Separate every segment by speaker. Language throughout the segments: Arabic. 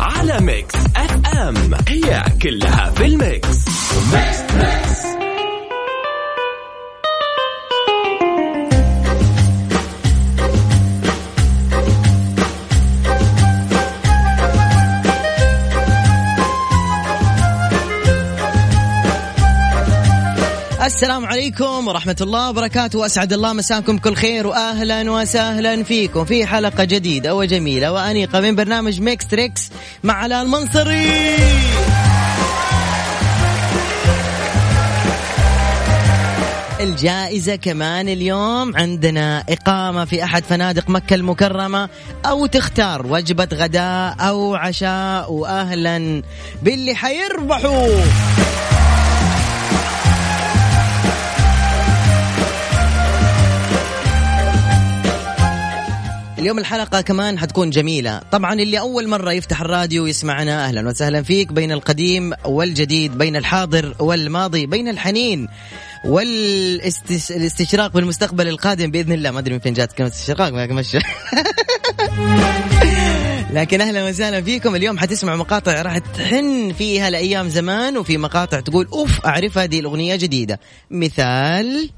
Speaker 1: على ميكس اف ام هي كلها في الميكس ميكس ميكس
Speaker 2: السلام عليكم ورحمة الله وبركاته وأسعد الله مساكم كل خير وأهلا وسهلا فيكم في حلقة جديدة وجميلة وأنيقة من برنامج ميكس تريكس مع علاء المنصري الجائزة كمان اليوم عندنا إقامة في أحد فنادق مكة المكرمة أو تختار وجبة غداء أو عشاء وأهلا باللي حيربحوا اليوم الحلقة كمان حتكون جميلة طبعا اللي أول مرة يفتح الراديو يسمعنا أهلا وسهلا فيك بين القديم والجديد بين الحاضر والماضي بين الحنين والاستشراق بالمستقبل القادم بإذن الله ما أدري من فين جات كلمة استشراق لكن مشى لكن اهلا وسهلا فيكم اليوم حتسمع مقاطع راح تحن فيها لايام زمان وفي مقاطع تقول اوف اعرفها دي الاغنيه جديده مثال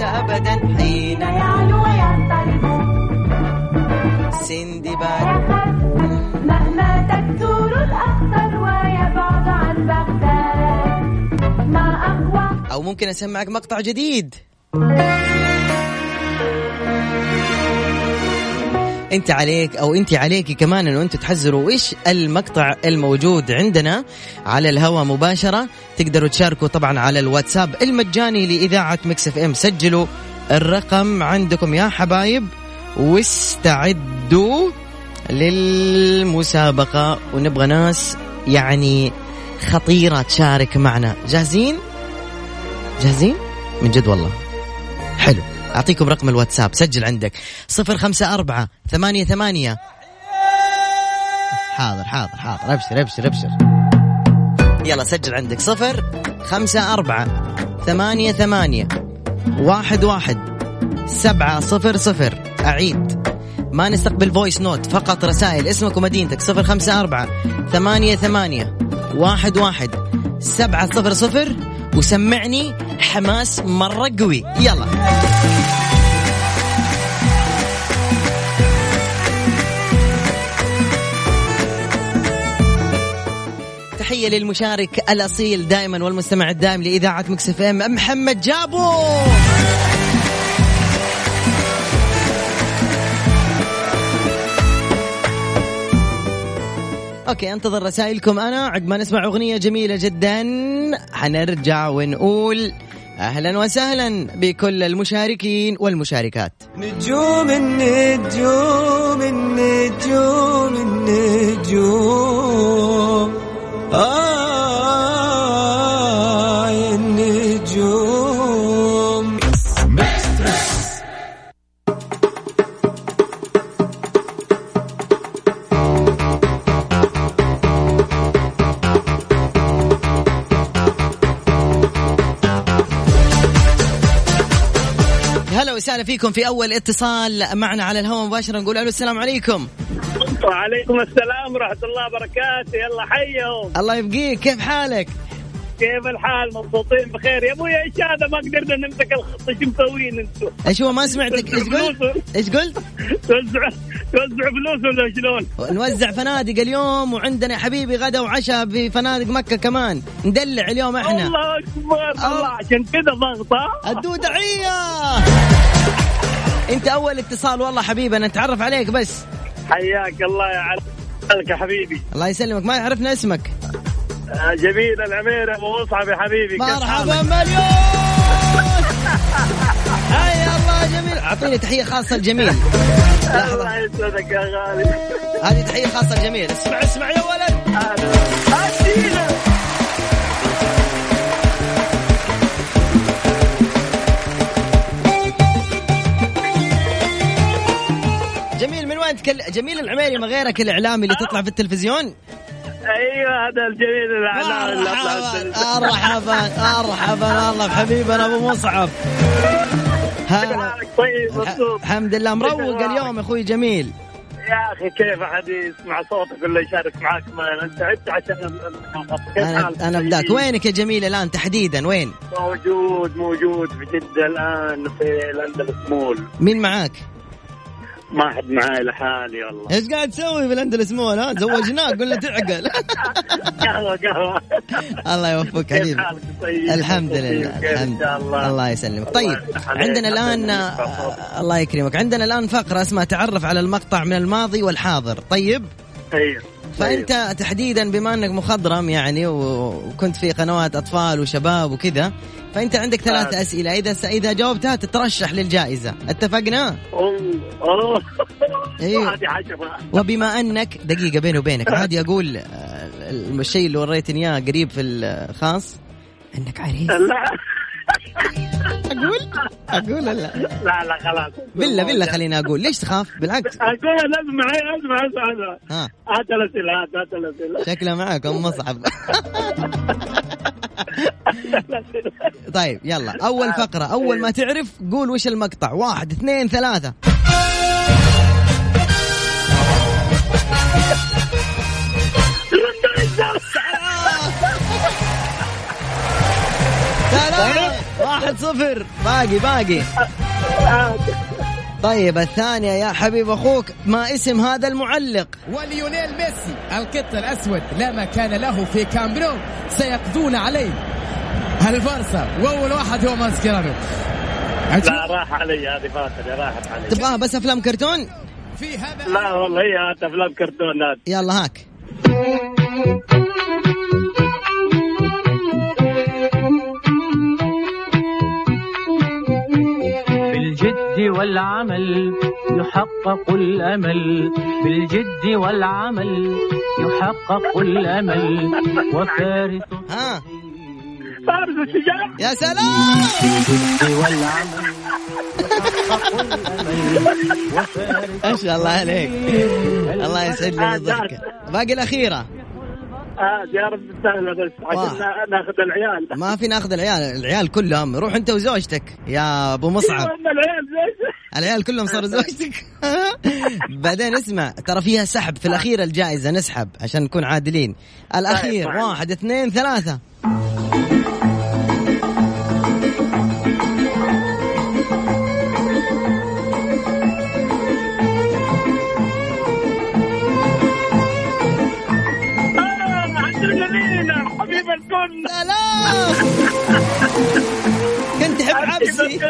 Speaker 2: أبدا حين يعلو وينطلق سندباد
Speaker 3: مهما تكثر الأخضر ويبعد عن بغداد ما أقوى
Speaker 2: أو ممكن أسمعك مقطع جديد انت عليك او انت عليكي كمان انه انتم تحزروا ايش المقطع الموجود عندنا على الهواء مباشره تقدروا تشاركوا طبعا على الواتساب المجاني لاذاعه مكس اف ام سجلوا الرقم عندكم يا حبايب واستعدوا للمسابقه ونبغى ناس يعني خطيره تشارك معنا جاهزين جاهزين من جد والله حلو أعطيكم رقم الواتساب سجل عندك صفر خمسة أربعة ثمانية ثمانية حاضر حاضر حاضر أبشر أبشر أبشر يلا سجل عندك صفر خمسة أربعة ثمانية ثمانية واحد واحد سبعة صفر صفر أعيد ما نستقبل فويس نوت فقط رسائل اسمك ومدينتك صفر خمسة أربعة ثمانية ثمانية واحد واحد سبعة صفر صفر وسمعني حماس مرة قوي يلا تحية للمشارك الأصيل دائما والمستمع الدائم لإذاعة مكسف ام محمد جابو اوكي انتظر رسائلكم انا عقب ما نسمع اغنيه جميله جدا حنرجع ونقول اهلا وسهلا بكل المشاركين والمشاركات
Speaker 4: نجوم النجوم النجوم النجوم آه يا النجوم
Speaker 2: هلا وسهلا فيكم في اول اتصال معنا على الهواء مباشره نقول الو السلام عليكم
Speaker 5: وعليكم السلام ورحمة الله وبركاته يلا حيهم
Speaker 2: الله يبقيك كيف حالك
Speaker 5: كيف الحال مبسوطين بخير يا ابوي ايش هذا ما قدرنا نمسك الخط ايش مسوين انتم
Speaker 2: ايش هو ما سمعتك ايش قلت ايش قلت
Speaker 5: توزعوا توزعوا فلوس ولا شلون
Speaker 2: نوزع فنادق اليوم وعندنا يا حبيبي غدا وعشاء بفنادق مكه كمان ندلع اليوم احنا
Speaker 5: الله اكبر الله عشان كذا ضغط ها؟
Speaker 2: الدودعيه انت اول اتصال والله حبيبنا نتعرف عليك بس
Speaker 5: حياك الله يا علي لك يا حبيبي
Speaker 2: الله يسلمك ما يعرفنا اسمك
Speaker 5: آه، جميل الامير ابو مصعب يا حبيبي كيف حالك؟
Speaker 2: مرحبا مليون هيا الله جميل اعطيني تحيه خاصه لجميل
Speaker 5: الله يسعدك يا غالي
Speaker 2: هذه تحيه خاصه لجميل اسمع اسمع يا ولد
Speaker 5: هلا. أشيله.
Speaker 2: جميل من وين تكل... جميل العميري ما غيرك الاعلامي اللي تطلع في التلفزيون
Speaker 5: ايوه هذا الجميل الاعلام اللي
Speaker 2: مرحبا آه.
Speaker 5: اطلع
Speaker 2: مرحبا مرحبا والله بحبيبنا ابو مصعب هلا
Speaker 5: طيب مبسوط
Speaker 2: الح- الحمد لله مروق
Speaker 5: شكراً.
Speaker 2: اليوم اخوي جميل
Speaker 5: يا اخي كيف احد يسمع صوتك ولا يشارك معك ما انا تعبت عشان كيف حالك؟
Speaker 2: انا انا بداك
Speaker 5: طيب.
Speaker 2: وينك يا جميل الان تحديدا وين
Speaker 5: موجود موجود في جده الان في الاندلس مول
Speaker 2: مين معاك
Speaker 5: ما حد معاي لحالي والله
Speaker 2: ايش قاعد تسوي في الاندلس مول ها زوجناك قلنا تعقل
Speaker 5: قهوه قهوه
Speaker 2: الله يوفقك
Speaker 5: كيف
Speaker 2: حبيبي
Speaker 5: حالك طيب؟
Speaker 2: الحمد لله
Speaker 5: كيف ان
Speaker 2: الحمد
Speaker 5: شاء الله
Speaker 2: الله يسلمك طيب
Speaker 5: يفتح عليك.
Speaker 2: عندنا الان آه، الله يكرمك عندنا الان فقره اسمها تعرف على المقطع من الماضي والحاضر طيب
Speaker 5: طيب طيب.
Speaker 2: فانت تحديدا بما انك مخضرم يعني وكنت في قنوات اطفال وشباب وكذا فانت عندك ثلاث
Speaker 5: آه.
Speaker 2: اسئله اذا اذا جاوبتها تترشح للجائزه اتفقنا
Speaker 5: أوه، أوه.
Speaker 2: إيه.
Speaker 5: هذه عجبة.
Speaker 2: وبما انك دقيقه بيني وبينك عادي اقول آه، الشيء اللي وريتني اياه قريب في الخاص انك عريس
Speaker 5: لا
Speaker 2: اقول اقول لا
Speaker 5: لا لا خلاص
Speaker 2: بالله بالله خليني اقول ليش تخاف بالعكس
Speaker 5: اقول اسمع اسمع اسمع
Speaker 2: ها
Speaker 5: هات الاسئله هات هات الاسئله
Speaker 2: شكله معك ام مصعب طيب يلا اول فقره اول ما تعرف قول وش المقطع واحد اثنين ثلاثه سلام واحد صفر باقي باقي طيب الثانية يا حبيب أخوك ما اسم هذا المعلق
Speaker 6: وليونيل ميسي القط الأسود لا مكان له في كامب نو سيقضون عليه البارسا وأول واحد هو ماسكيرانو
Speaker 5: لا راح علي هذه فاتني راحت علي
Speaker 2: تبغاها بس أفلام كرتون
Speaker 6: في هذا
Speaker 5: لا والله هي هات افلام كرتونات
Speaker 2: يلا هاك
Speaker 7: بالجد والعمل يحقق الأمل بالجد والعمل يحقق الأمل وفارس
Speaker 2: ها
Speaker 5: فارس الشجاع
Speaker 2: يا سلام
Speaker 7: والعمل
Speaker 2: ما شاء الله عليك الله يسعد لي الضحكة باقي الأخيرة
Speaker 5: آه يا رب سهلة بس عشان نا- ناخذ العيال
Speaker 2: ما في ناخذ العيال العيال كلهم روح أنت وزوجتك يا أبو مصعب
Speaker 5: أما العيال ليش؟
Speaker 2: العيال كلهم صاروا زوجتك بعدين اسمع ترى فيها سحب في الأخيرة الجائزة نسحب عشان نكون عادلين الأخير
Speaker 5: طيب، طيب.
Speaker 2: واحد اثنين ثلاثة
Speaker 5: آه، عبد الجليل حبيب الكل
Speaker 2: سلام كنت أحب عبسي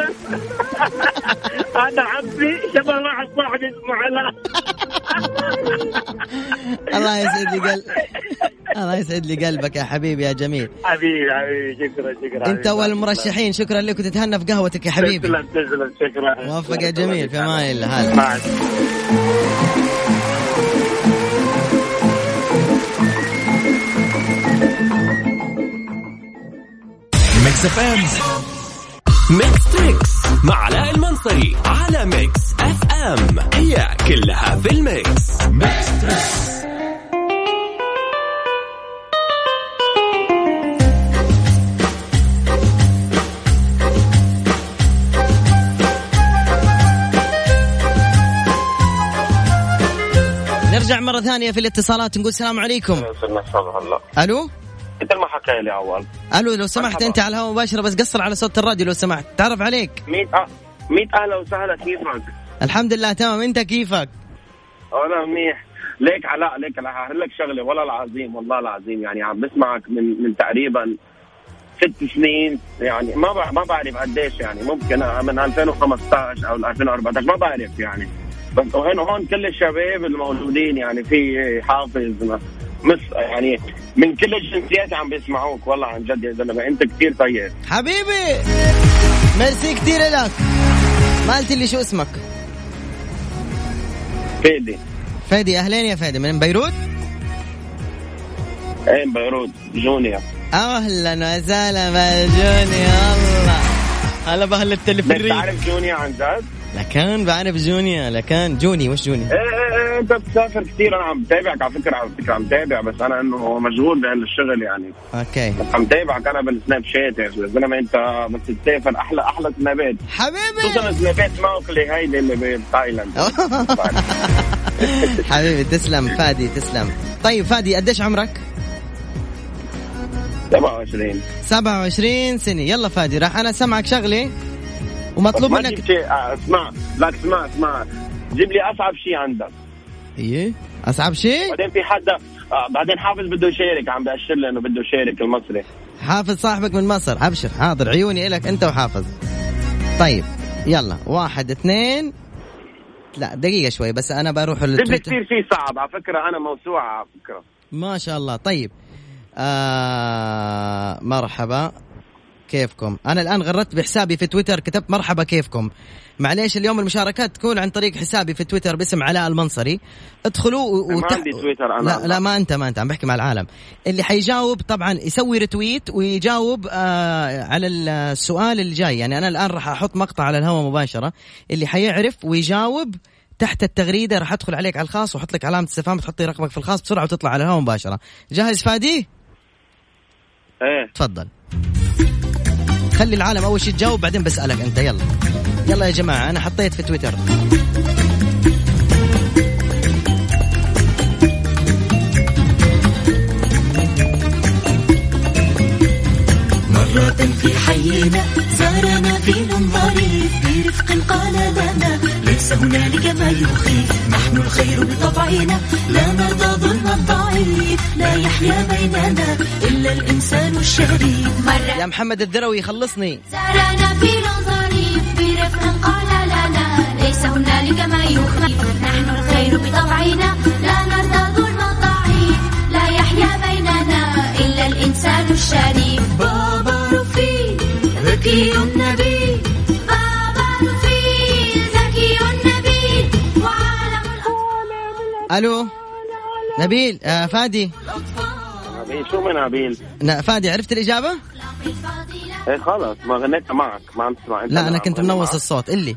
Speaker 5: انا عبسي شبه واحد صاحبي اسمه علاء
Speaker 2: الله يسعد لي قلب الله يسعد لي قلبك يا حبيبي يا جميل
Speaker 5: حبيبي حبيبي شكرا شكرا
Speaker 2: انت اول المرشحين شكرا لك وتتهنى في قهوتك يا حبيبي
Speaker 5: تسلم تسلم شكرا
Speaker 2: موفق يا جميل في امان الله هلا.
Speaker 5: مع
Speaker 4: ميكس اف ام ميكس تريكس مع علاء المنصري على ميكس اف ام هي كلها في الميكس ميكس تريكس
Speaker 2: نرجع مره ثانيه في الاتصالات نقول السلام عليكم
Speaker 8: وصلنا الصبح هلا
Speaker 2: الو
Speaker 8: مثل ما حكى لي اول
Speaker 2: الو لو سمحت
Speaker 8: مرحبا.
Speaker 2: انت على الهواء مباشره بس قصر على صوت الراديو لو سمحت تعرف عليك
Speaker 8: 100 أه... 100 اهلا وسهلا كيفك؟
Speaker 2: الحمد لله تمام انت كيفك
Speaker 8: انا منيح ليك علاء ليك علاء هقول لك شغله والله العظيم والله العظيم يعني عم بسمعك من من تقريبا ست سنين يعني ما بع... ما بعرف قديش يعني ممكن من 2015 او 2014 ما بعرف يعني بس وهنا هون كل الشباب الموجودين يعني في حافظ م- مس يعني من كل الجنسيات عم بيسمعوك والله عن جد يا زلمه انت كثير طيب
Speaker 2: حبيبي ميرسي كثير لك ما قلت لي شو اسمك
Speaker 8: فادي
Speaker 2: فادي اهلين يا فادي من بيروت
Speaker 8: ايه بيروت جونيور
Speaker 2: اهلا وسهلا يا جوني الله هلا باهل التلفريك
Speaker 8: بس تعرف جونيا عن جد؟
Speaker 2: لكان بعرف جوني لكان جوني وش جوني
Speaker 5: إيه،
Speaker 8: ايه ايه ايه
Speaker 5: انت بتسافر كثير انا عم بتابعك على فكره على فكره عم بتابع بس انا انه مشغول بهالشغل يعني
Speaker 2: اوكي
Speaker 5: عم تابعك انا بالسناب شات يا أخي. يا زلمه انت بس تسافر احلى احلى سنابات
Speaker 2: حبيبي
Speaker 5: خصوصا سنابات موكلي هيدي اللي بتايلاند
Speaker 2: حبيبي تسلم فادي تسلم طيب فادي قديش عمرك
Speaker 5: 27
Speaker 2: 27 سنة يلا فادي راح أنا سمعك شغلة ومطلوب
Speaker 5: ما جبت
Speaker 2: منك
Speaker 5: شيء- آه، اسمع لا اسمع اسمع جيب لي اصعب شيء عندك
Speaker 2: ايه أصعب شيء
Speaker 5: بعدين في حدا آه، بعدين حافظ بده يشارك عم بأشر لي انه بده يشارك المصري
Speaker 2: حافظ صاحبك من مصر أبشر حاضر عيوني إلك أنت وحافظ طيب يلا واحد اثنين لا دقيقة شوي بس أنا بروح
Speaker 5: جيب لي
Speaker 2: للتويتر
Speaker 5: كثير شيء صعب على فكره انا موسوعه على فكره
Speaker 2: ما شاء الله طيب آه مرحبا كيفكم انا الان غردت بحسابي في تويتر كتبت مرحبا كيفكم معليش اليوم المشاركات تكون عن طريق حسابي في تويتر باسم علاء المنصري ادخلوا و...
Speaker 5: ما
Speaker 2: وتح-
Speaker 5: عندي تويتر أنا.
Speaker 2: لا لا ما انت ما انت عم بحكي مع العالم اللي حيجاوب طبعا يسوي رتويت ويجاوب آه على السؤال اللي جاي يعني انا الان راح احط مقطع على الهواء مباشره اللي حيعرف ويجاوب تحت التغريده راح ادخل عليك على الخاص واحط لك علامه استفهام تحطي رقمك في الخاص بسرعه وتطلع على الهواء مباشره جاهز فادي
Speaker 5: ايه
Speaker 2: تفضل خلي العالم اول شيء تجاوب بعدين بسالك انت يلا يلا يا جماعه انا حطيت في تويتر
Speaker 3: مرة في حينا زارنا فيل ظريف برفق قال لنا ليس هنالك ما يخيف نحن الخير بطبعنا لا نرضى ظلم الضعيف لا يحيا بيننا إلا الإنسان الشريف
Speaker 2: يا محمد الدروي خلصني
Speaker 3: زارنا فيل ظريف برفق قال لنا ليس هنالك ما يخيف نحن الخير بطبعنا لا نرضى ظلم الضعيف لا يحيا بيننا إلا الإنسان الشريف بابا رفيق ذكي النبي بابا رفيق ذكي النبي وعالم الأطفال
Speaker 2: الو نبيل آه فادي
Speaker 5: نبيل شو من نبيل؟
Speaker 2: ن- فادي عرفت الاجابه
Speaker 3: الفاضلة
Speaker 5: ايه خلص ما غنيت معك ما عم تسمع انت
Speaker 2: لا انا كنت
Speaker 5: عم غني
Speaker 2: منوص
Speaker 5: معك.
Speaker 2: الصوت اللي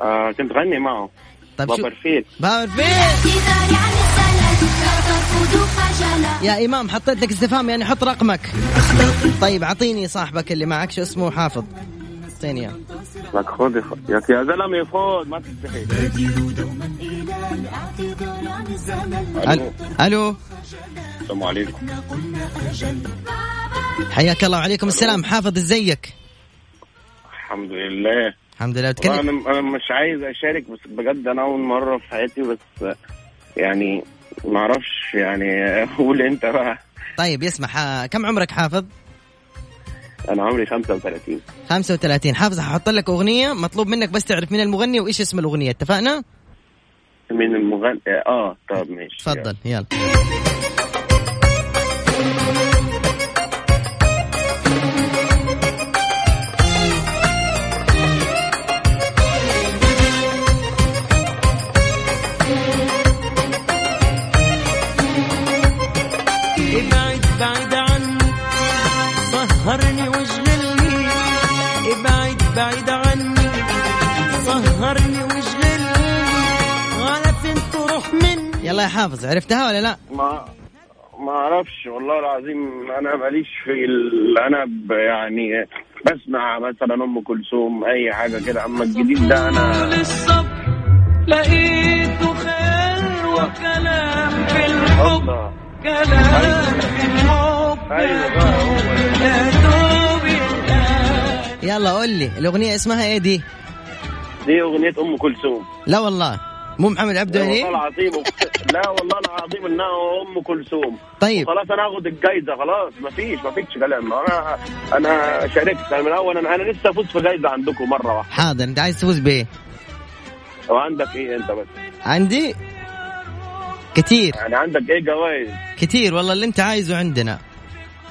Speaker 5: آه كنت غني معه
Speaker 2: طيب شو
Speaker 5: بابا رفيق
Speaker 2: بابرفيت
Speaker 3: إذا يعني السلام لا ترفضوا خجلا
Speaker 2: يا امام حطيت لك استفهام يعني حط رقمك طيب اعطيني صاحبك اللي معك شو اسمه حافظ اعطيني اياه
Speaker 5: لك خذ خذ. يا أخي يا زلمه خذ ما تستحي
Speaker 3: بديل دوما إلى الاعتذار عن الزمن
Speaker 2: الو الو
Speaker 5: السلام عليكم
Speaker 3: قلنا أجل
Speaker 2: حياك الله وعليكم السلام حافظ ازيك
Speaker 5: الحمد لله
Speaker 2: الحمد لله
Speaker 5: والله
Speaker 2: بتكلم
Speaker 5: انا انا مش عايز اشارك بس بجد انا اول مره في حياتي بس يعني ما اعرفش يعني قول انت بقى
Speaker 2: طيب يسمح آه، كم عمرك حافظ
Speaker 5: انا عمري 35
Speaker 2: 35 حافظ ححط لك اغنيه مطلوب منك بس تعرف مين المغني وايش اسم الاغنيه اتفقنا
Speaker 5: من المغني اه طب ماشي
Speaker 2: تفضل يلا
Speaker 9: ابعد بعد عني سهرني واجللني ابعد بعد عني سهرني واجللني على فين تروح مني
Speaker 2: يلا يا حافظ عرفتها ولا لا
Speaker 5: ما ما اعرفش والله العظيم انا ماليش في ال... انا ب... يعني بسمع مثلا ام كلثوم اي حاجه كده اما الجديد ده انا
Speaker 9: للصبر لقيته خير وكلام في الحب
Speaker 5: الله
Speaker 9: كلام في الحب
Speaker 5: ايوه بقى هو ده.
Speaker 9: يا دوبي
Speaker 2: يلا قول لي الاغنيه اسمها ايه دي
Speaker 5: دي اغنيه ام كلثوم
Speaker 2: لا والله مو محمد عبده يعني؟ هي
Speaker 5: والله العظيم وقت- لا والله العظيم انها ام كلثوم
Speaker 2: طيب
Speaker 5: خلاص انا هاخد الجايزه خلاص مفيش مفيش كلام انا انا شاركت أنا من الاول انا انا لسه فزت في جايزه عندكم مره واحده
Speaker 2: حاضر انت عايز تفوز بايه
Speaker 5: وعندك ايه انت بس
Speaker 2: عندي كتير
Speaker 5: يعني عندك ايه جوائز
Speaker 2: كتير والله اللي انت عايزه عندنا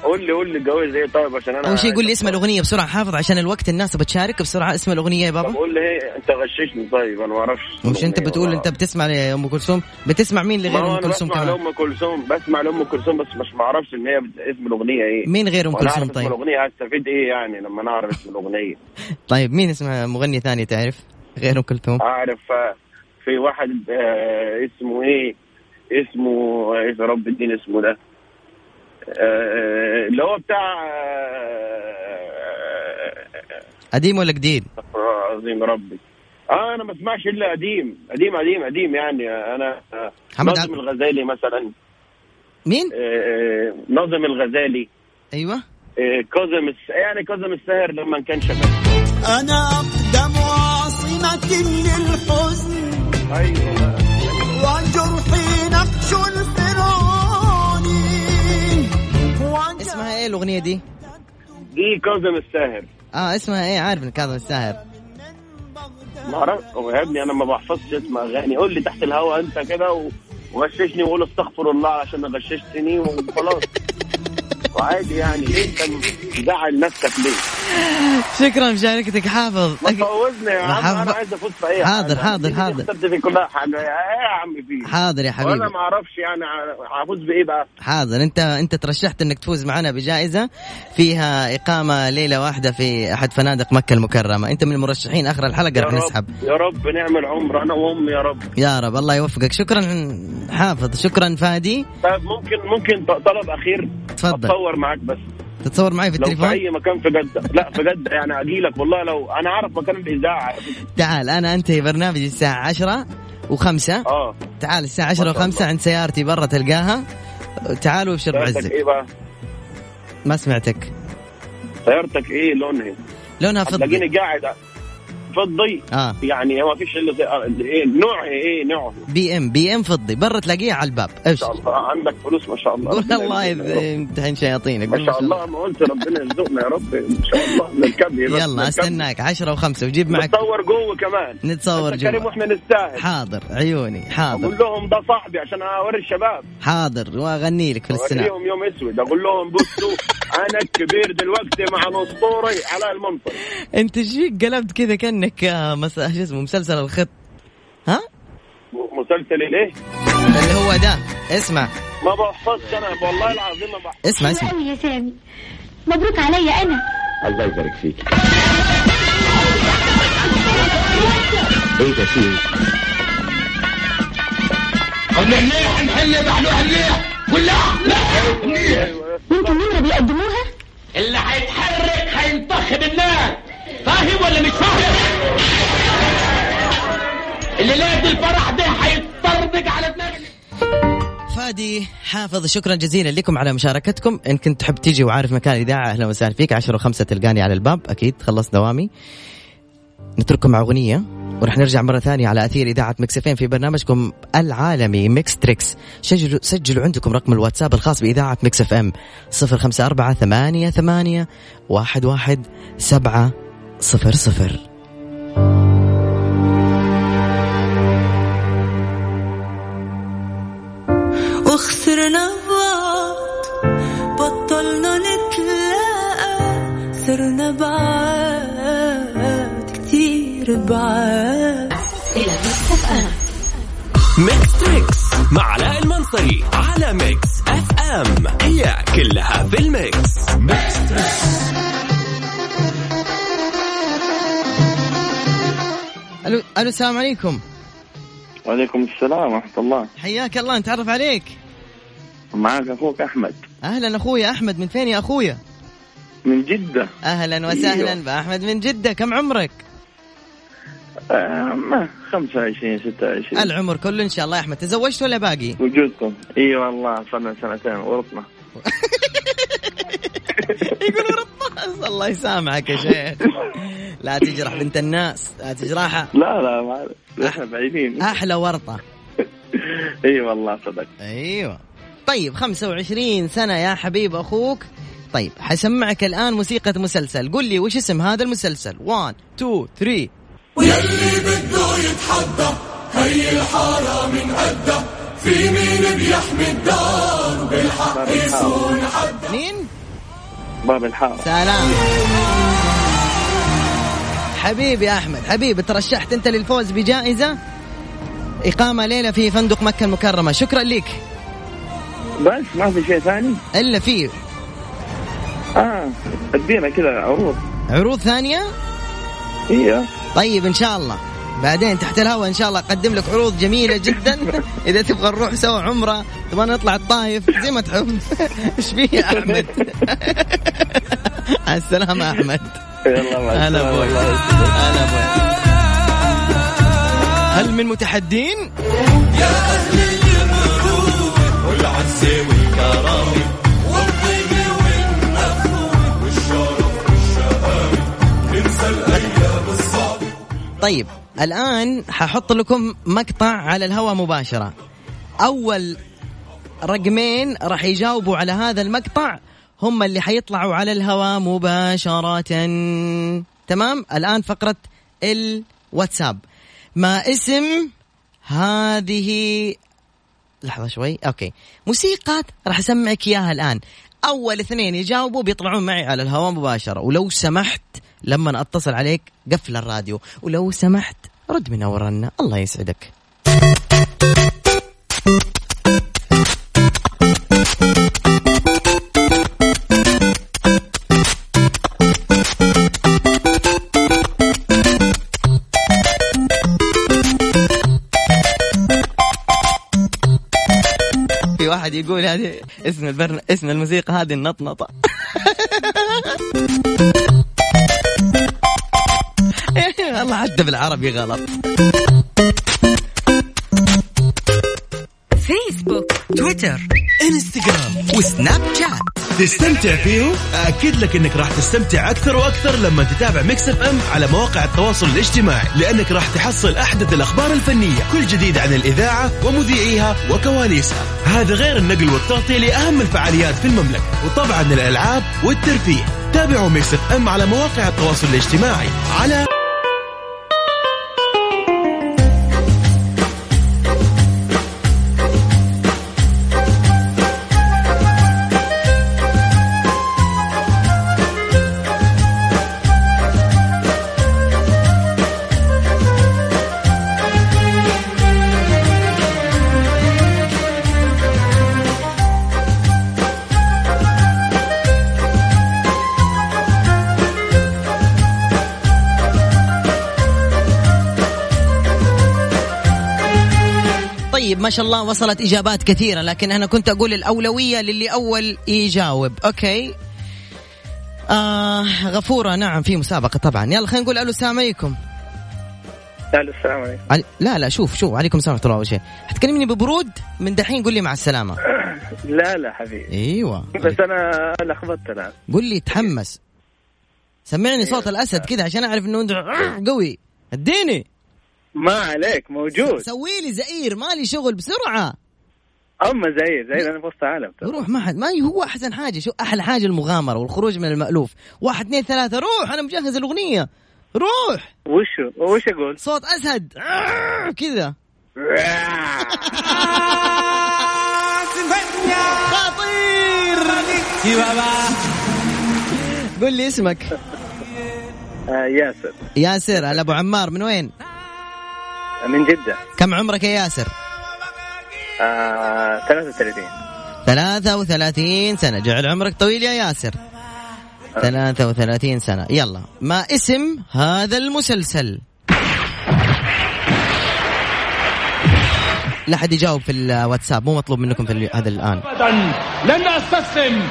Speaker 5: قول لي قول لي الجوائز ايه طيب عشان انا
Speaker 2: اول شيء قول لي اسم الاغنيه بسرعه حافظ عشان الوقت الناس بتشارك بسرعه اسم الاغنيه يا
Speaker 5: طب
Speaker 2: بابا
Speaker 5: قول لي ايه انت غششني طيب انا ما اعرفش
Speaker 2: مش انت بتقول انت بتسمع لام كلثوم بتسمع مين
Speaker 5: ما
Speaker 2: لغير
Speaker 5: هو
Speaker 2: ام
Speaker 5: انا
Speaker 2: كلثوم
Speaker 5: بسمع
Speaker 2: كمان
Speaker 5: لام كلثوم بسمع لام كلثوم بس مش ما اعرفش ان هي بت- اسم الاغنيه ايه
Speaker 2: مين غير ام
Speaker 5: وأنا أعرف
Speaker 2: كلثوم
Speaker 5: اسم
Speaker 2: طيب
Speaker 5: الاغنيه هستفيد ايه يعني لما انا اعرف اسم الاغنيه
Speaker 2: طيب مين اسمها مغني ثاني تعرف غير ام كلثوم
Speaker 5: اعرف آه، في في واحد آه اسمه ايه اسمه ايه يا رب الدين اسمه ده آه اللي هو بتاع آه
Speaker 2: قديم ولا جديد؟
Speaker 5: آه، عظيم ربي آه انا ما اسمعش الا قديم قديم قديم قديم يعني انا آه،
Speaker 2: محمد
Speaker 5: ناظم
Speaker 2: عبد-
Speaker 5: الغزالي مثلا
Speaker 2: مين؟
Speaker 5: آه، آه، ناظم الغزالي
Speaker 2: ايوه
Speaker 5: آه، كاظم الس- يعني كاظم الساهر لما كان شباب
Speaker 10: أنا أقدم عاصمة للحزن
Speaker 5: ايوه
Speaker 10: وجرحي نقش الفرعوني
Speaker 2: اسمها ايه الاغنيه دي؟
Speaker 5: دي كاظم الساهر
Speaker 2: اه اسمها ايه عارف ان كاظم الساهر
Speaker 5: ما اعرف هو يا ابني انا ما بحفظش اسم اغاني قول لي تحت الهوا انت كده و- وغششني وقول استغفر الله عشان غششتني وخلاص وعادي يعني ليه انت مزعل نفسك ليه؟
Speaker 2: شكرا مشاركتك حافظ
Speaker 5: ما تفوزني يا عم
Speaker 2: حافظ-
Speaker 5: انا عايز افوز في اي
Speaker 2: حاضر،
Speaker 5: حاجة.
Speaker 2: حاضر،
Speaker 5: دي- دي
Speaker 2: حاضر.
Speaker 5: خسرت في كلها حاجه ايه يا عم فيه
Speaker 2: حاضر يا حبيبي
Speaker 5: وانا ما اعرفش يعني ع- هفوز بايه بقى؟
Speaker 2: حاضر انت انت ترشحت انك تفوز معنا بجائزه فيها اقامه ليله واحده في احد فنادق مكه المكرمه انت من المرشحين اخر الحلقه
Speaker 5: يا
Speaker 2: رح
Speaker 5: رب-
Speaker 2: نسحب
Speaker 5: يا رب نعمل عمر انا وامي يا رب
Speaker 2: يا رب الله يوفقك شكرا حافظ شكرا فادي
Speaker 5: طيب ممكن ممكن ط- طلب اخير
Speaker 2: تفضل.
Speaker 5: اتصور معاك بس
Speaker 2: تتصور معي في
Speaker 5: لو في
Speaker 2: التليفون
Speaker 5: اي مكان في جده لا في جده يعني اجي لك والله لو انا عارف مكان الاذاعه على فكرة.
Speaker 2: تعال انا انتهي برنامجي الساعه 10 وخمسة
Speaker 5: اه
Speaker 2: تعال الساعه 10 وخمسة عند سيارتي برا تلقاها تعال وابشر
Speaker 5: سيارتك
Speaker 2: بعزك
Speaker 5: ايه بقى؟
Speaker 2: ما سمعتك
Speaker 5: سيارتك ايه لونها؟
Speaker 2: لونها فضي
Speaker 5: هتلاقيني قاعد فضي
Speaker 2: اه
Speaker 5: يعني ما فيش الا سي- آه، ايه نوعها ايه نوعها؟
Speaker 2: بي ام بي ام فضي برا تلاقيه على الباب
Speaker 5: ما شاء
Speaker 2: ابشر
Speaker 5: الله آه، عندك فلوس ما شاء الله
Speaker 2: قول
Speaker 5: ربنا
Speaker 2: الله
Speaker 5: يرزقنا يا رب.
Speaker 2: يمتحن شياطينك قول
Speaker 5: ما شاء الله ما قلت ربنا يرزقنا يا رب ان شاء الله نركب إيه بس
Speaker 2: يلا
Speaker 5: نركب.
Speaker 2: استناك 10 و5 وجيب معك
Speaker 5: نتصور جوه كمان
Speaker 2: نتصور
Speaker 5: أنت كريم
Speaker 2: جوا
Speaker 5: واحنا نستاهل
Speaker 2: حاضر عيوني
Speaker 5: اقول
Speaker 2: حاضر
Speaker 5: لهم ده صاحبي عشان اوري الشباب
Speaker 2: حاضر واغني لك في السناب
Speaker 5: اوريهم يوم اسود اقول لهم بصوا انا الكبير دلوقتي مع الاسطوري علاء المنصري
Speaker 2: انت ايش فيك قلبت كذا كانك آه، مس... شو اسمه مسلسل الخط ها
Speaker 5: مسلسل ايه؟
Speaker 2: اللي هو ده اسمع
Speaker 5: ما بحفظش انا والله العظيم ما بحفظش
Speaker 2: اسمع اسمع
Speaker 3: قوي يا سامي مبروك عليا انا
Speaker 11: الله يبارك فيك ايه ده فيه
Speaker 3: وانتوا النمره بيقدموها
Speaker 9: اللي هيتحرك هينتخب الناس فاهم ولا مش فاهم اللي لاقي الفرح ده هيتطردق على دماغه
Speaker 2: فادي حافظ شكرا جزيلا لكم على مشاركتكم ان كنت تحب تيجي وعارف مكان الاذاعه اهلا وسهلا فيك 10 و5 تلقاني على الباب اكيد خلص دوامي نترككم مع اغنيه ورح نرجع مره ثانيه على اثير اذاعه مكسفين في برنامجكم العالمي ميكس تريكس سجلوا سجلوا عندكم رقم الواتساب الخاص باذاعه مكس اف ام 054 ثمانية ثمانية واحد واحد سبعة صفر صفر
Speaker 10: وخسرنا بعض بطلنا نتلاقى صرنا بعاد كتير بعاد
Speaker 4: ميكس تريكس مع علاء المنصري على ميكس اف ام هي كلها في الميكس ميكس تريكس
Speaker 2: الو الو السلام عليكم
Speaker 5: وعليكم السلام ورحمه الله
Speaker 2: حياك الله نتعرف عليك
Speaker 5: معك اخوك احمد
Speaker 2: اهلا اخويا احمد من فين يا اخويا
Speaker 5: من جده
Speaker 2: اهلا وسهلا
Speaker 5: أيوه.
Speaker 2: باحمد من جده كم عمرك؟
Speaker 5: آه ما 25 26
Speaker 2: العمر كله ان شاء الله يا احمد تزوجت ولا باقي؟
Speaker 5: وجودكم اي والله صرنا سنتين ورطنا
Speaker 2: يقولوا رطاس الله يسامحك يا شيخ لا تجرح بنت الناس لا تجرحها
Speaker 5: لا لا ما عارف. احنا بعيدين
Speaker 2: احلى ورطه
Speaker 5: اي والله صدق
Speaker 2: ايوه طيب 25 سنه يا حبيب اخوك طيب حسمعك الان موسيقى مسلسل قل لي وش اسم هذا المسلسل 1 2 3
Speaker 5: باب الحاره
Speaker 2: مين؟
Speaker 5: باب الحاره
Speaker 2: سلام حبيبي يا احمد حبيبي ترشحت انت للفوز بجائزه اقامه ليله في فندق مكه المكرمه شكرا لك
Speaker 5: بس ما في شيء ثاني
Speaker 2: الا في
Speaker 12: آه،
Speaker 5: اه ادينا كذا عروض
Speaker 2: عروض ثانيه
Speaker 5: ايوه
Speaker 12: إيوه.
Speaker 2: طيب ان شاء الله بعدين تحت الهواء ان شاء الله اقدم لك عروض جميله جدا اذا تبغى نروح سوا عمره تبغى نطلع الطايف زي ما تحب ايش فيه يا احمد على السلامه يا احمد
Speaker 5: يلا مع
Speaker 2: هلا
Speaker 5: السلامة.
Speaker 2: ابوي هلا ابوي هل من متحدين؟
Speaker 4: والعز والكرم
Speaker 2: طيب الان ححط لكم مقطع على الهواء مباشره اول رقمين راح يجاوبوا على هذا المقطع هم اللي حيطلعوا على الهواء مباشره تمام الان فقره الواتساب ما اسم هذه لحظه شوي اوكي موسيقى راح اسمعك اياها الان اول اثنين يجاوبوا بيطلعون معي على الهواء مباشره ولو سمحت لما اتصل عليك قفل الراديو ولو سمحت رد من اورنا الله يسعدك في واحد يقول هذه اسم البرن... اسم الموسيقى هذه النطنطه الله حتى بالعربي غلط
Speaker 13: فيسبوك تويتر انستغرام وسناب شات
Speaker 4: تستمتع فيه أكد لك أنك راح تستمتع أكثر وأكثر لما تتابع ميكس اف ام على مواقع التواصل الاجتماعي لأنك راح تحصل أحدث الأخبار الفنية كل جديد عن الإذاعة ومذيعيها وكواليسها هذا غير النقل والتغطية لأهم الفعاليات في المملكة وطبعا الألعاب والترفيه تابعوا ميكس اف ام على مواقع التواصل الاجتماعي على
Speaker 2: طيب ما شاء الله وصلت اجابات كثيره لكن انا كنت اقول الاولويه للي اول يجاوب اوكي آه غفوره نعم في مسابقه طبعا يلا خلينا نقول الو السلام عليكم
Speaker 12: الو السلام عليكم
Speaker 2: عل... لا لا شوف شوف عليكم السلام ورحمه الله اول شيء حتكلمني ببرود من دحين قول لي مع السلامه
Speaker 12: لا لا حبيبي
Speaker 2: ايوه
Speaker 12: بس انا لخبطت الان
Speaker 2: قول لي تحمس سمعني صوت الاسد كذا عشان اعرف انه انت قوي اديني
Speaker 12: ما عليك موجود
Speaker 2: سوي لي زئير مالي شغل بسرعه
Speaker 12: اما زي زي انا في وسط عالم
Speaker 2: روح ما حد ما هو احسن حاجه شو احلى حاجه المغامره والخروج من المالوف واحد اثنين ثلاثه روح انا مجهز الاغنيه روح
Speaker 12: وش وش اقول؟
Speaker 2: صوت اسد آه، كذا خطير
Speaker 12: يا بابا
Speaker 2: قول لي اسمك
Speaker 5: آه،
Speaker 12: ياسر
Speaker 2: ياسر هلا ابو عمار من وين
Speaker 12: من جده
Speaker 2: كم عمرك يا ياسر
Speaker 12: آه 33
Speaker 2: 33 سنة جعل عمرك طويل يا ياسر 33 سنة يلا ما اسم هذا المسلسل لا حد يجاوب في الواتساب مو مطلوب منكم في ال- هذا الآن
Speaker 9: أبدا لن أستسلم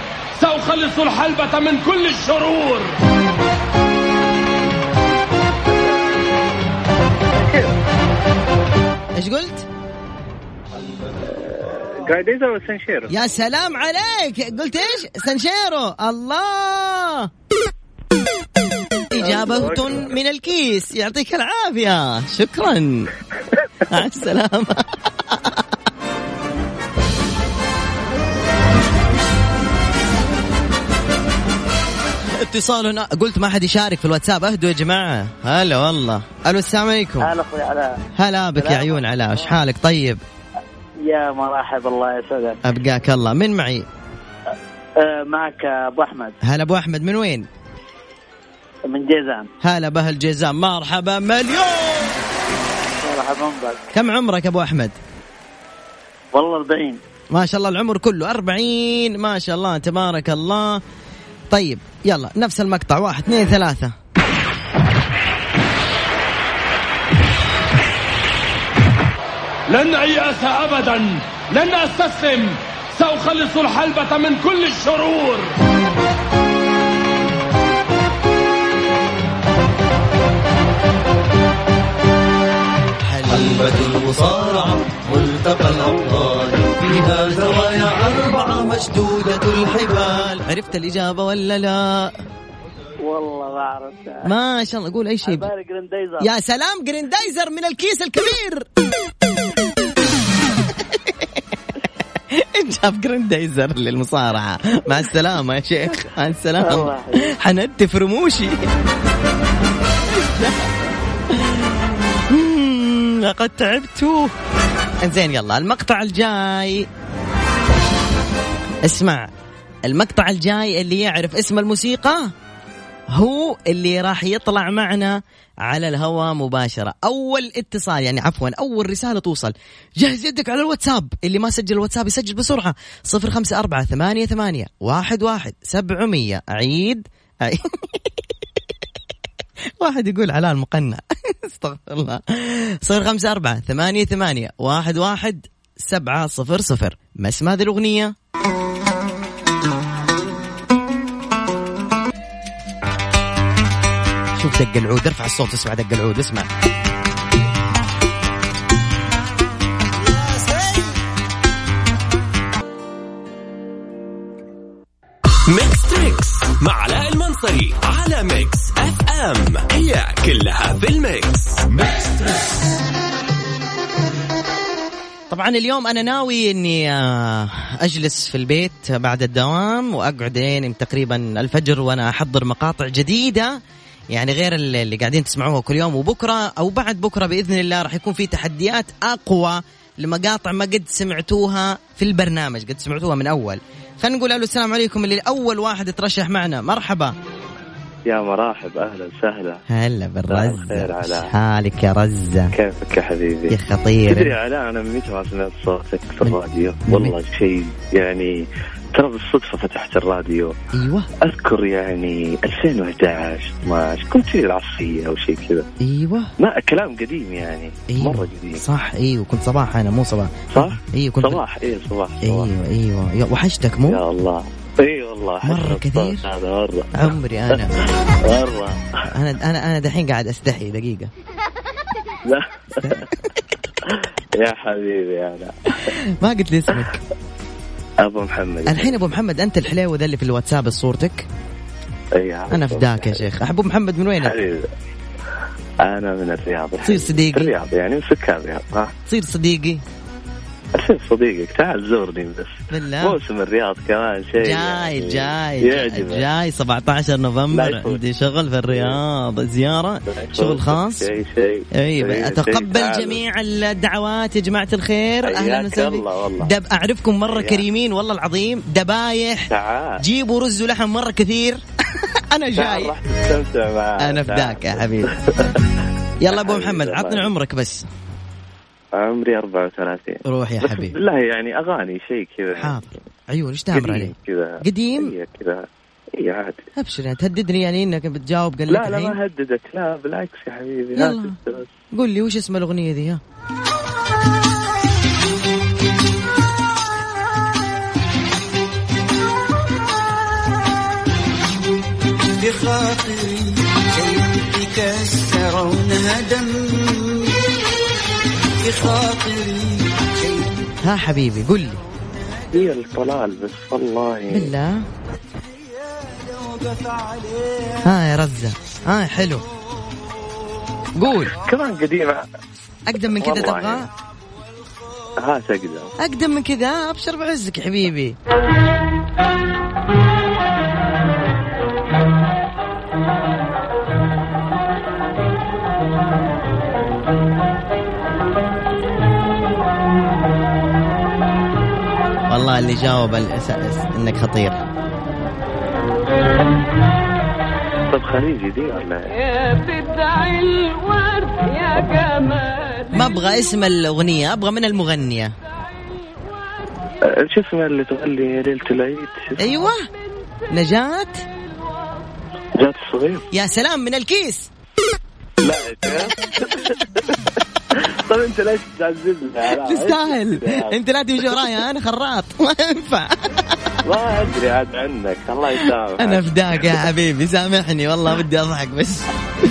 Speaker 9: سأخلص الحلبة من كل الشرور
Speaker 2: ايش قلت؟
Speaker 12: جرايديزر وسنشيرو
Speaker 2: يا سلام عليك قلت ايش؟ سانشيرو الله إجابة من الكيس يعطيك العافية شكرا مع السلامة اتصال هنا قلت ما حد يشارك في الواتساب اهدوا يا جماعة هلا والله الو السلام عليكم
Speaker 14: هلا اخوي علاء
Speaker 2: هلا بك يا عيون علاء ايش حالك طيب
Speaker 14: يا مرحب الله يسعدك
Speaker 2: ابقاك الله من معي
Speaker 14: آه، معك ابو احمد
Speaker 2: هلا ابو احمد من وين
Speaker 14: من جيزان
Speaker 2: هلا بأهل جيزان مرحبا مليون
Speaker 14: مرحبا بك
Speaker 2: كم عمرك أبو أحمد
Speaker 14: والله 40
Speaker 2: ما شاء الله العمر كله أربعين ما شاء الله تبارك الله طيب يلا نفس المقطع واحد اثنين ثلاثة
Speaker 15: لن أيأس أبدا لن أستسلم سأخلص الحلبة من كل الشرور
Speaker 16: حلبة المصارعة ملتقى الأبطال فيها زوايا أربعة مشدودة الحبال
Speaker 2: عرفت الإجابة ولا لا
Speaker 17: والله ما اعرف
Speaker 2: ما شاء الله قول أي شيء
Speaker 17: عبالي جريندايزر
Speaker 2: يا سلام جريندايزر من الكيس الكبير جاب جريندايزر للمصارعة مع السلامة يا شيخ مع السلامة
Speaker 17: الله
Speaker 2: حنتف رموشي مم، لقد تعبت انزين يلا المقطع الجاي اسمع المقطع الجاي اللي يعرف اسم الموسيقى هو اللي راح يطلع معنا على الهواء مباشرة أول اتصال يعني عفوا أول رسالة توصل جهز يدك على الواتساب اللي ما سجل الواتساب يسجل بسرعة صفر خمسة أربعة ثمانية ثمانية واحد واحد سبعمية عيد عيد. واحد يقول على المقنع استغفر الله صفر خمسة أربعة ثمانية ثمانية واحد واحد سبعة صفر صفر ما اسم هذه الأغنية شوف دق العود ارفع الصوت اسمع دق العود اسمع
Speaker 4: ميكس تريكس مع علاء المنصري على ميكس اف ام هي كلها في الميكس ميكس تريكس
Speaker 2: طبعا اليوم انا ناوي اني آه، اجلس في البيت بعد الدوام واقعد لين تقريبا الفجر وانا احضر مقاطع جديده يعني غير اللي اللي قاعدين تسمعوها كل يوم وبكره او بعد بكره باذن الله راح يكون في تحديات اقوى لمقاطع ما قد سمعتوها في البرنامج قد سمعتوها من اول خلينا نقول الو السلام عليكم اللي اول واحد ترشح معنا مرحبا
Speaker 5: يا مرحب اهلا وسهلا
Speaker 2: هلا
Speaker 5: خير
Speaker 2: بالرزة
Speaker 5: علاء.
Speaker 2: حالك يا رزة
Speaker 5: كيفك يا حبيبي؟
Speaker 2: يا خطير.
Speaker 5: تدري يا علاء انا من متى ما سمعت صوتك في الراديو والله شيء يعني ترى بالصدفه فتحت الراديو
Speaker 2: ايوه
Speaker 5: اذكر يعني 2011 12 كنت في العصيه او شيء كذا
Speaker 2: ايوه
Speaker 5: ما كلام قديم يعني
Speaker 2: ايوه
Speaker 5: مره قديم
Speaker 2: صح ايوه كنت صباح انا مو صباح
Speaker 5: صح؟
Speaker 2: ايوه كنت
Speaker 5: صباح اي صباح
Speaker 2: ايوه ايوه يا- وحشتك مو
Speaker 5: يا الله اي والله
Speaker 2: مرة
Speaker 5: حسب الصوت
Speaker 2: كثير؟
Speaker 5: هذا مره
Speaker 2: عمري انا
Speaker 5: مره
Speaker 2: انا انا انا دحين قاعد استحي دقيقه
Speaker 5: لا يا حبيبي يا علاء
Speaker 2: ما قلت لي اسمك
Speaker 5: ابو محمد
Speaker 2: الحين ابو محمد انت الحلاوه ذا اللي في الواتساب صورتك
Speaker 5: إيه،
Speaker 2: انا فداك يا شيخ ابو محمد من وين
Speaker 5: حبيبي انا من الرياض
Speaker 2: تصير صديقي.
Speaker 5: الرياض يعني سكان الرياض ها
Speaker 2: تصير صديقي
Speaker 5: اصير صديقك تعال زورني بس
Speaker 2: بالله.
Speaker 5: موسم الرياض كمان شيء
Speaker 2: جاي
Speaker 5: يعني
Speaker 2: جاي
Speaker 5: يعجبك
Speaker 2: جاي 17
Speaker 5: لا
Speaker 2: نوفمبر
Speaker 5: يفوت.
Speaker 2: عندي شغل في الرياض زياره شغل خاص
Speaker 5: شيء شيء
Speaker 2: اي
Speaker 5: شيء-
Speaker 2: اتقبل
Speaker 5: شيء.
Speaker 2: إيه، جميع الدعوات يا جماعه الخير اهلا
Speaker 5: حياك
Speaker 2: وسهلا
Speaker 5: الله والله.
Speaker 2: دب اعرفكم مره
Speaker 5: حياك.
Speaker 2: كريمين والله العظيم دبايح
Speaker 5: تعال
Speaker 2: جيبوا رز ولحم مره كثير انا
Speaker 5: تعال
Speaker 2: جاي
Speaker 5: راح تستمتع معاه
Speaker 2: انا فداك يا حبيبي يلا ابو محمد عطنا عمرك بس
Speaker 5: عمري 34
Speaker 2: روح يا
Speaker 5: بس
Speaker 2: حبيبي.
Speaker 5: بالله يعني اغاني شيء كذا
Speaker 2: حاضر ايوه ليش تامر
Speaker 5: قديم
Speaker 2: علي
Speaker 5: كذا
Speaker 2: قديم؟
Speaker 5: اي كذا اي عادي
Speaker 2: ابشر يعني تهددني يعني انك بتجاوب قال لك
Speaker 5: لا لا
Speaker 2: الحين
Speaker 5: ما هددك لا بالعكس يا حبيبي
Speaker 2: يلا.
Speaker 5: لا تسترس.
Speaker 2: قول لي وش اسم الاغنيه ذي ها
Speaker 16: بخاطري شيء تكسرونها دم بخاطري
Speaker 2: ها حبيبي قول لي
Speaker 5: هي إيه، الطلال بس والله
Speaker 2: بالله ها يا رزه ها حلو قول
Speaker 5: كمان قديمة
Speaker 2: اقدم من كذا
Speaker 5: والله
Speaker 2: تبغى
Speaker 5: ها تقدر
Speaker 2: اقدم من كذا ابشر بعزك يا حبيبي والله اللي جاوب الأس- أس- انك خطير
Speaker 5: طب خليجي دي ولا إيه؟
Speaker 6: يا بدع الورد يا جمال
Speaker 2: ما ابغى اسم الاغنيه ابغى من المغنيه
Speaker 5: أه، شو اسمها اللي تغني يا ليلة العيد شو اسمها؟
Speaker 2: ايوه نجاة
Speaker 5: جات الصغير
Speaker 2: يا سلام من الكيس
Speaker 5: لا يا شيخ.
Speaker 7: طب انت إيه؟ طيب، ليش تعززنا؟ لا، إيه؟
Speaker 2: تستاهل
Speaker 7: إيش-
Speaker 2: انت لا تمشي ورايا انا خراط ما ينفع
Speaker 18: ما ادري عاد عنك الله يسامحك
Speaker 2: انا فداك يا حبيبي سامحني والله بدي اضحك بس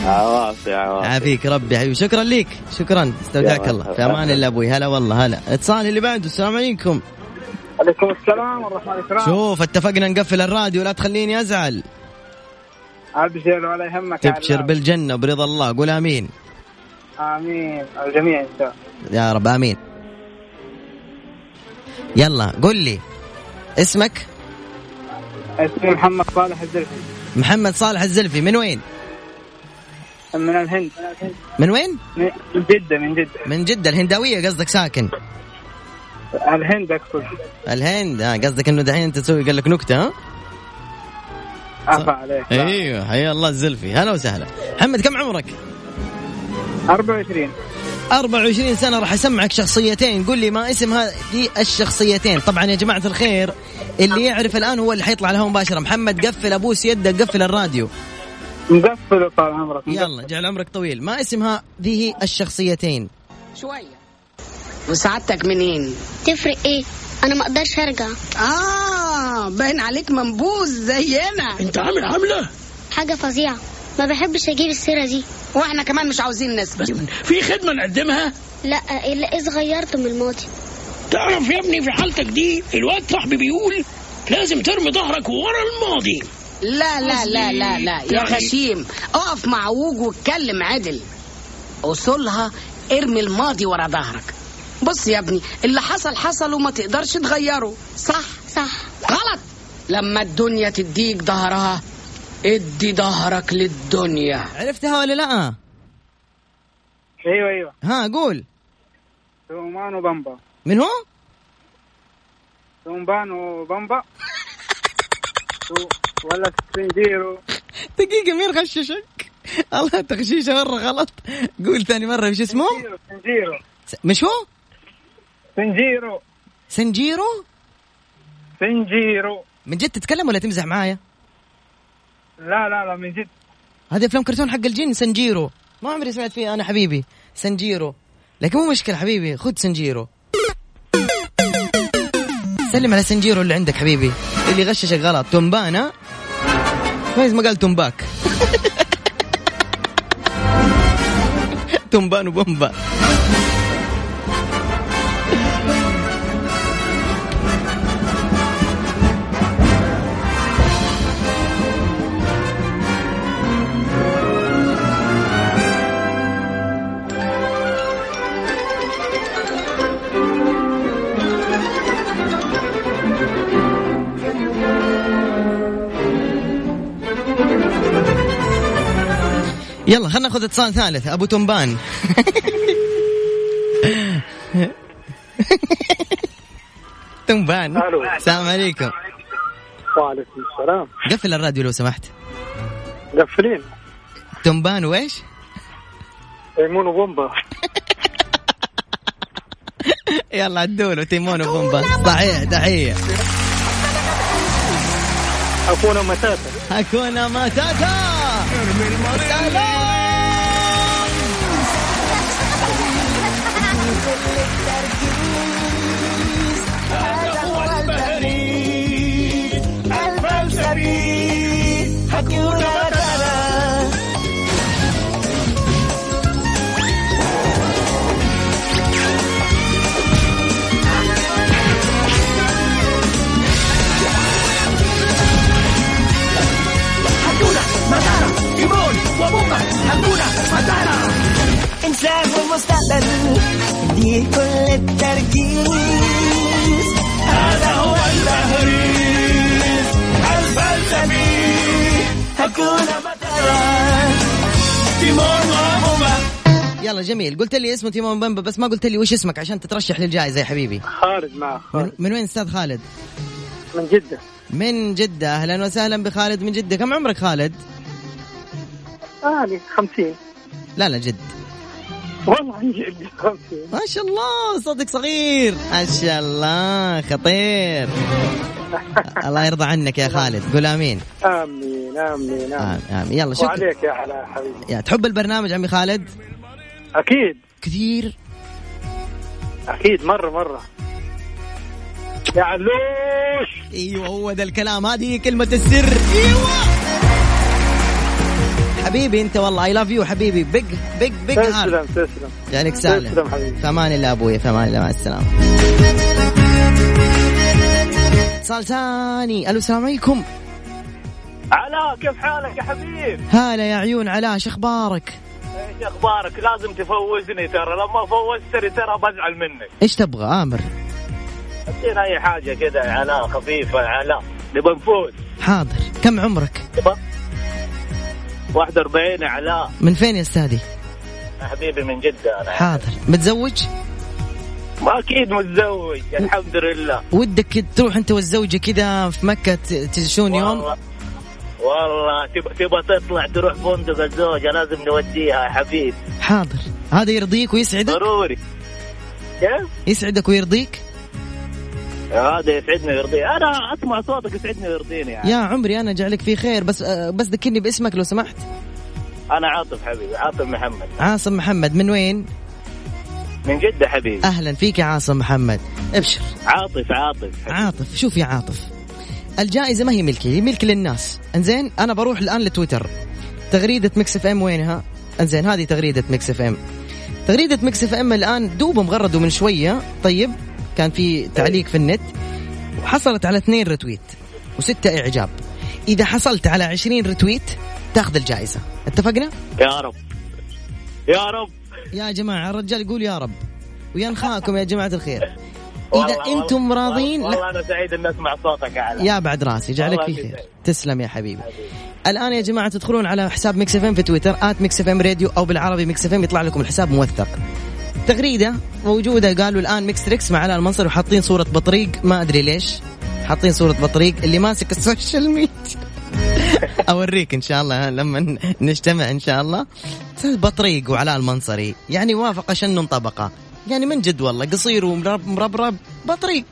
Speaker 7: آه،
Speaker 18: عواصي عواصي
Speaker 2: عافيك ربي حبيبي شكرا لك شكرا استودعك
Speaker 18: يلا.
Speaker 2: الله في امان الله ابوي هلا والله هلا اتصال اللي بعده السلام عليكم
Speaker 7: عليكم السلام ورحمه الله وبركاته
Speaker 2: شوف اتفقنا نقفل الراديو لا تخليني ازعل
Speaker 7: ابشر ولا يهمك
Speaker 2: تبشر
Speaker 7: علام.
Speaker 2: بالجنه برضا الله قول امين
Speaker 7: امين على الجميع ان شاء الله
Speaker 2: يا رب امين يلا قل لي اسمك
Speaker 7: اسمي محمد صالح الزلفي
Speaker 2: محمد صالح الزلفي من وين
Speaker 7: من الهند
Speaker 2: من وين
Speaker 7: من جده من جده
Speaker 2: من جده الهنداويه قصدك ساكن
Speaker 7: الهند اقصد
Speaker 2: الهند آه قصدك انه دحين انت تسوي قال لك نكته ها
Speaker 7: عفا عليك
Speaker 2: ايوه حيا الله الزلفي هلا وسهلا محمد كم عمرك
Speaker 7: 24
Speaker 2: 24 سنة راح أسمعك شخصيتين قل لي ما اسم هذه الشخصيتين طبعا يا جماعة الخير اللي يعرف الآن هو اللي حيطلع له مباشرة محمد قفل أبوس يدك قفل الراديو
Speaker 7: مقفل طال عمرك
Speaker 2: يلا جعل عمرك طويل ما اسم هذه الشخصيتين
Speaker 6: شوية وسعادتك منين؟ تفرق ايه؟ انا ما اقدرش ارجع اه باين عليك منبوذ زينا انت عامل عاملة؟ حاجة فظيعة ما بحبش اجيب السيرة دي واحنا كمان مش عاوزين نسمع
Speaker 19: في خدمة نقدمها
Speaker 6: لا الا اذ غيرت من الماضي
Speaker 19: تعرف يا ابني في حالتك دي الواد صاحبي بيقول لازم ترمي ظهرك ورا الماضي
Speaker 6: لا لا لا لا لا يا
Speaker 19: يعني-
Speaker 6: غشيم اقف مع ووج واتكلم عدل اصولها ارمي الماضي ورا ظهرك بص يا ابني اللي حصل حصل وما تقدرش تغيره صح صح غلط لما الدنيا تديك ظهرها ادي ظهرك للدنيا
Speaker 2: عرفتها ولا لا
Speaker 7: ايوه ايوه
Speaker 2: ها قول
Speaker 7: ثومان وبمبا
Speaker 2: من هو
Speaker 7: ثومبان وبمبا ثو- ولا سنجيرو
Speaker 2: دقيقة مين غششك الله تغشيشة مرة غلط قول ثاني مرة وش اسمه
Speaker 7: سنجيرو
Speaker 2: مش هو
Speaker 7: سنجيرو
Speaker 2: سنجيرو
Speaker 7: سنجيرو
Speaker 2: من جد تتكلم ولا تمزح معايا
Speaker 7: لا لا لا من جد
Speaker 2: هذا فيلم كرتون حق الجن سنجيرو ما عمري سمعت فيه انا حبيبي سنجيرو لكن مو مشكله حبيبي خذ سنجيرو سلم على سنجيرو اللي عندك حبيبي اللي غششك غلط تنبانا كويس ما قال تنباك تنبان وبومبا يلا خلينا ناخذ اتصال ثالث ابو تنبان تنبان
Speaker 7: ألو.
Speaker 2: السلام عليكم
Speaker 7: وعليكم السلام
Speaker 2: قفل الراديو لو سمحت
Speaker 7: مقفلين
Speaker 2: تنبان وايش؟
Speaker 7: ليمون وبومبا
Speaker 2: يلا الدول وتيمون وبومبا صحيح تحية
Speaker 7: اكون متاتا
Speaker 2: هاكونا ماتاتا
Speaker 16: انسان المستقبل دي كل التركيز هذا هو التهريس الفلسفي هكون مثلا تيمون وبومبا
Speaker 2: يلا جميل قلت لي اسمه تيمون بومبا بس ما قلت لي وش اسمك عشان تترشح للجائزة يا حبيبي
Speaker 7: خالد معه
Speaker 2: من, من وين استاذ خالد؟
Speaker 7: من جده
Speaker 2: من جدة اهلا وسهلا بخالد من جدة كم عمرك خالد؟
Speaker 7: آه 50
Speaker 2: لا لا جد
Speaker 7: والله عن جد 50
Speaker 2: ما شاء الله صوتك صغير ما شاء الله خطير الله يرضى عنك يا خالد قول امين
Speaker 7: امين امين امين
Speaker 2: آمين، آمين. يلا شكرا
Speaker 7: وعليك يا علاء حبيبي
Speaker 2: يا تحب البرنامج عمي خالد؟
Speaker 7: اكيد
Speaker 2: كثير
Speaker 12: اكيد مره مره يا علوش
Speaker 2: ايوه هو ده الكلام هذه كلمة السر ايوه حبيبي انت والله اي لاف يو حبيبي بيج بيج بيج هارت
Speaker 12: تسلم تسلم
Speaker 2: يعني سالم
Speaker 12: تسلم حبيبي.
Speaker 2: فمان الله ابويا فمان الله مع السلامه اتصال ثاني الو السلام عليكم
Speaker 7: علاء كيف حالك يا حبيب؟
Speaker 2: هلا يا عيون علاء شو اخبارك
Speaker 7: ايش اخبارك؟ لازم تفوزني ترى لما فوزتني ترى بزعل منك.
Speaker 2: ايش تبغى امر
Speaker 7: ادينا اي حاجه كذا يا علاء خفيفه يا علاء نبغى نفوز
Speaker 2: حاضر كم عمرك
Speaker 7: 41 يا علاء
Speaker 2: من فين يا استاذي
Speaker 7: يا حبيبي من جده انا
Speaker 2: حاضر متزوج
Speaker 7: ما اكيد متزوج الحمد لله
Speaker 2: ودك تروح انت والزوجه كذا في مكه ت- تعيشون يوم
Speaker 7: والله- والله تبى تبى تطلع تروح فندق الزوجه لازم نوديها يا حبيب
Speaker 2: حاضر هذا يرضيك ويسعدك
Speaker 7: ضروري كيف؟
Speaker 2: يسعدك ويرضيك
Speaker 7: هذا يسعدني ويرضيني انا اسمع إيه، صوتك يسعدني ويرضيني يعني.
Speaker 2: يا عمري انا جعلك في خير بس آه، بس ذكرني باسمك لو سمحت
Speaker 7: انا عاطف حبيبي عاطف محمد
Speaker 2: عاصم محمد من وين
Speaker 7: من جده حبيبي
Speaker 2: اهلا فيك يا عاصم محمد ابشر
Speaker 7: عاطف عاطف
Speaker 2: عاطف شوف يا عاطف الجائزه ما هي ملكي هي ملك للناس انزين انا بروح الان لتويتر تغريده مكس اف ام وينها انزين هذه تغريده مكس اف ام تغريده مكس اف ام الان دوبهم غردوا من شويه طيب كان في تعليق في النت وحصلت على اثنين رتويت وستة اعجاب اذا حصلت على 20 رتويت تاخذ الجائزه اتفقنا
Speaker 7: يا رب يا رب
Speaker 2: يا جماعه الرجال يقول يا رب وينخاكم يا جماعه الخير اذا انتم راضين لا.
Speaker 7: والله انا سعيد اني اسمع صوتك يا علاء
Speaker 2: يا بعد راسي جعلك
Speaker 7: والله
Speaker 2: في خير
Speaker 7: تسعد.
Speaker 2: تسلم يا حبيبي الان يا جماعه تدخلون على حساب ميكس اف ام في تويتر ات ميكس اف ام راديو او بالعربي ميكس اف ام يطلع لكم الحساب موثق تغريده موجوده قالوا الان ميكس تريكس مع علاء المنصر وحاطين صوره بطريق ما ادري ليش حاطين صوره بطريق اللي ماسك السوشيال ميديا اوريك ان شاء الله لما نجتمع ان شاء الله بطريق وعلاء المنصري يعني وافق شن طبقه يعني من جد والله قصير ومرب- مربرب بطريق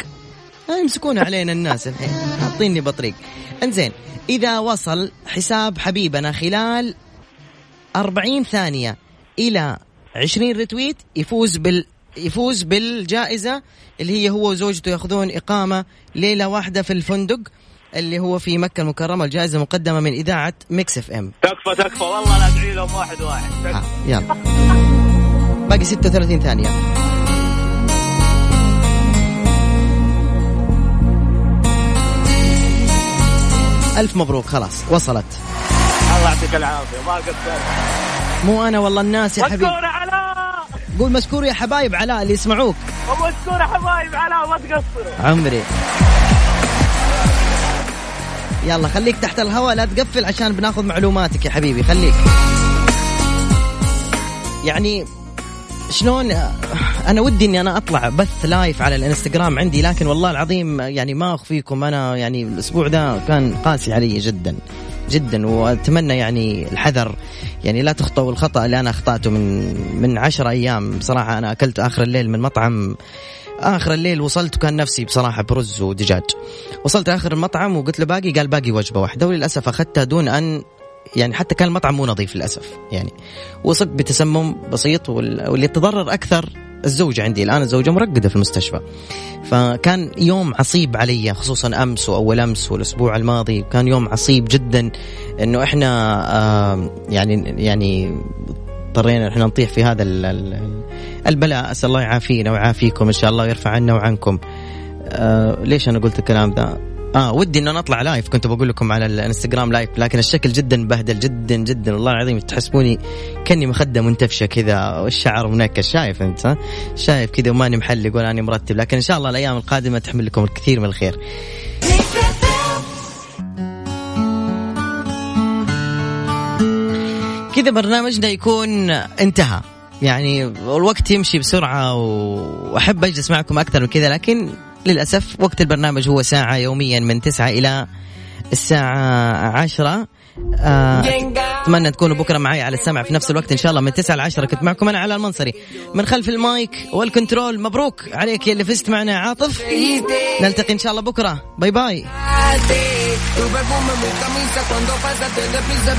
Speaker 2: لا آه، يمسكون علينا الناس الحين حاطيني بطريق انزين اذا وصل حساب حبيبنا خلال 40 ثانيه الى 20 رتويت يفوز بال يفوز بالجائزه اللي هي هو وزوجته ياخذون اقامه ليله واحده في الفندق اللي هو في مكه المكرمه الجائزه مقدمه من اذاعه ميكس اف ام
Speaker 7: تكفى تكفى والله لا تدعي لهم واحد واحد
Speaker 2: يلا باقي 36 ثانية ألف مبروك خلاص وصلت
Speaker 7: الله يعطيك العافيه ما قصرت
Speaker 2: مو أنا والله الناس يا حبيبي
Speaker 7: مشكور علاء
Speaker 2: قول مشكور يا حبايب علاء اللي يسمعوك
Speaker 7: ومشكور حبايب علاء ما تقصروا
Speaker 2: عمري يلا خليك تحت الهواء لا تقفل عشان بناخذ معلوماتك يا حبيبي خليك يعني شلون انا ودي اني انا اطلع بث لايف على الانستغرام عندي لكن والله العظيم يعني ما اخفيكم انا يعني الاسبوع ده كان قاسي علي جدا جدا واتمنى يعني الحذر يعني لا تخطئوا الخطا اللي انا اخطاته من من 10 ايام بصراحه انا اكلت اخر الليل من مطعم اخر الليل وصلت وكان نفسي بصراحه برز ودجاج وصلت اخر المطعم وقلت له باقي قال باقي وجبه واحده وللاسف اخذتها دون ان يعني حتى كان المطعم مو نظيف للاسف يعني وصبت بتسمم بسيط وال- واللي تضرر اكثر الزوجة عندي الآن الزوجة مرقدة في المستشفى فكان يوم عصيب علي خصوصا أمس وأول أمس والأسبوع الماضي كان يوم عصيب جدا أنه إحنا آه يعني يعني اضطرينا إحنا نطيح في هذا ال- ال- البلاء أسأل الله يعافينا ويعافيكم إن شاء الله ويرفع عنا وعنكم آه ليش انا قلت الكلام ذا؟ اه ودي ان انا اطلع لايف كنت بقول لكم على الانستغرام لايف لكن الشكل جدا بهدل جدا جدا والله العظيم تحسبوني كاني مخده منتفشه كذا والشعر منكش شايف انت ها؟ شايف كذا وماني محلق ولا اني مرتب لكن ان شاء الله الايام القادمه تحمل لكم الكثير من الخير. كذا برنامجنا يكون انتهى يعني الوقت يمشي بسرعة و- وأحب أجلس معكم أكثر من كذا لكن للأسف وقت البرنامج هو ساعة يوميا من تسعة إلى الساعة عشرة آه، أتمنى تكونوا بكرة معي على السمع في نفس الوقت إن شاء الله من تسعة لعشرة كنت معكم أنا على المنصري من خلف المايك والكنترول مبروك عليك يا اللي فزت معنا يا عاطف نلتقي إن شا الله بكرة باي باي
Speaker 20: Tu perfume, mi camisa, cuando pasas te deprisa.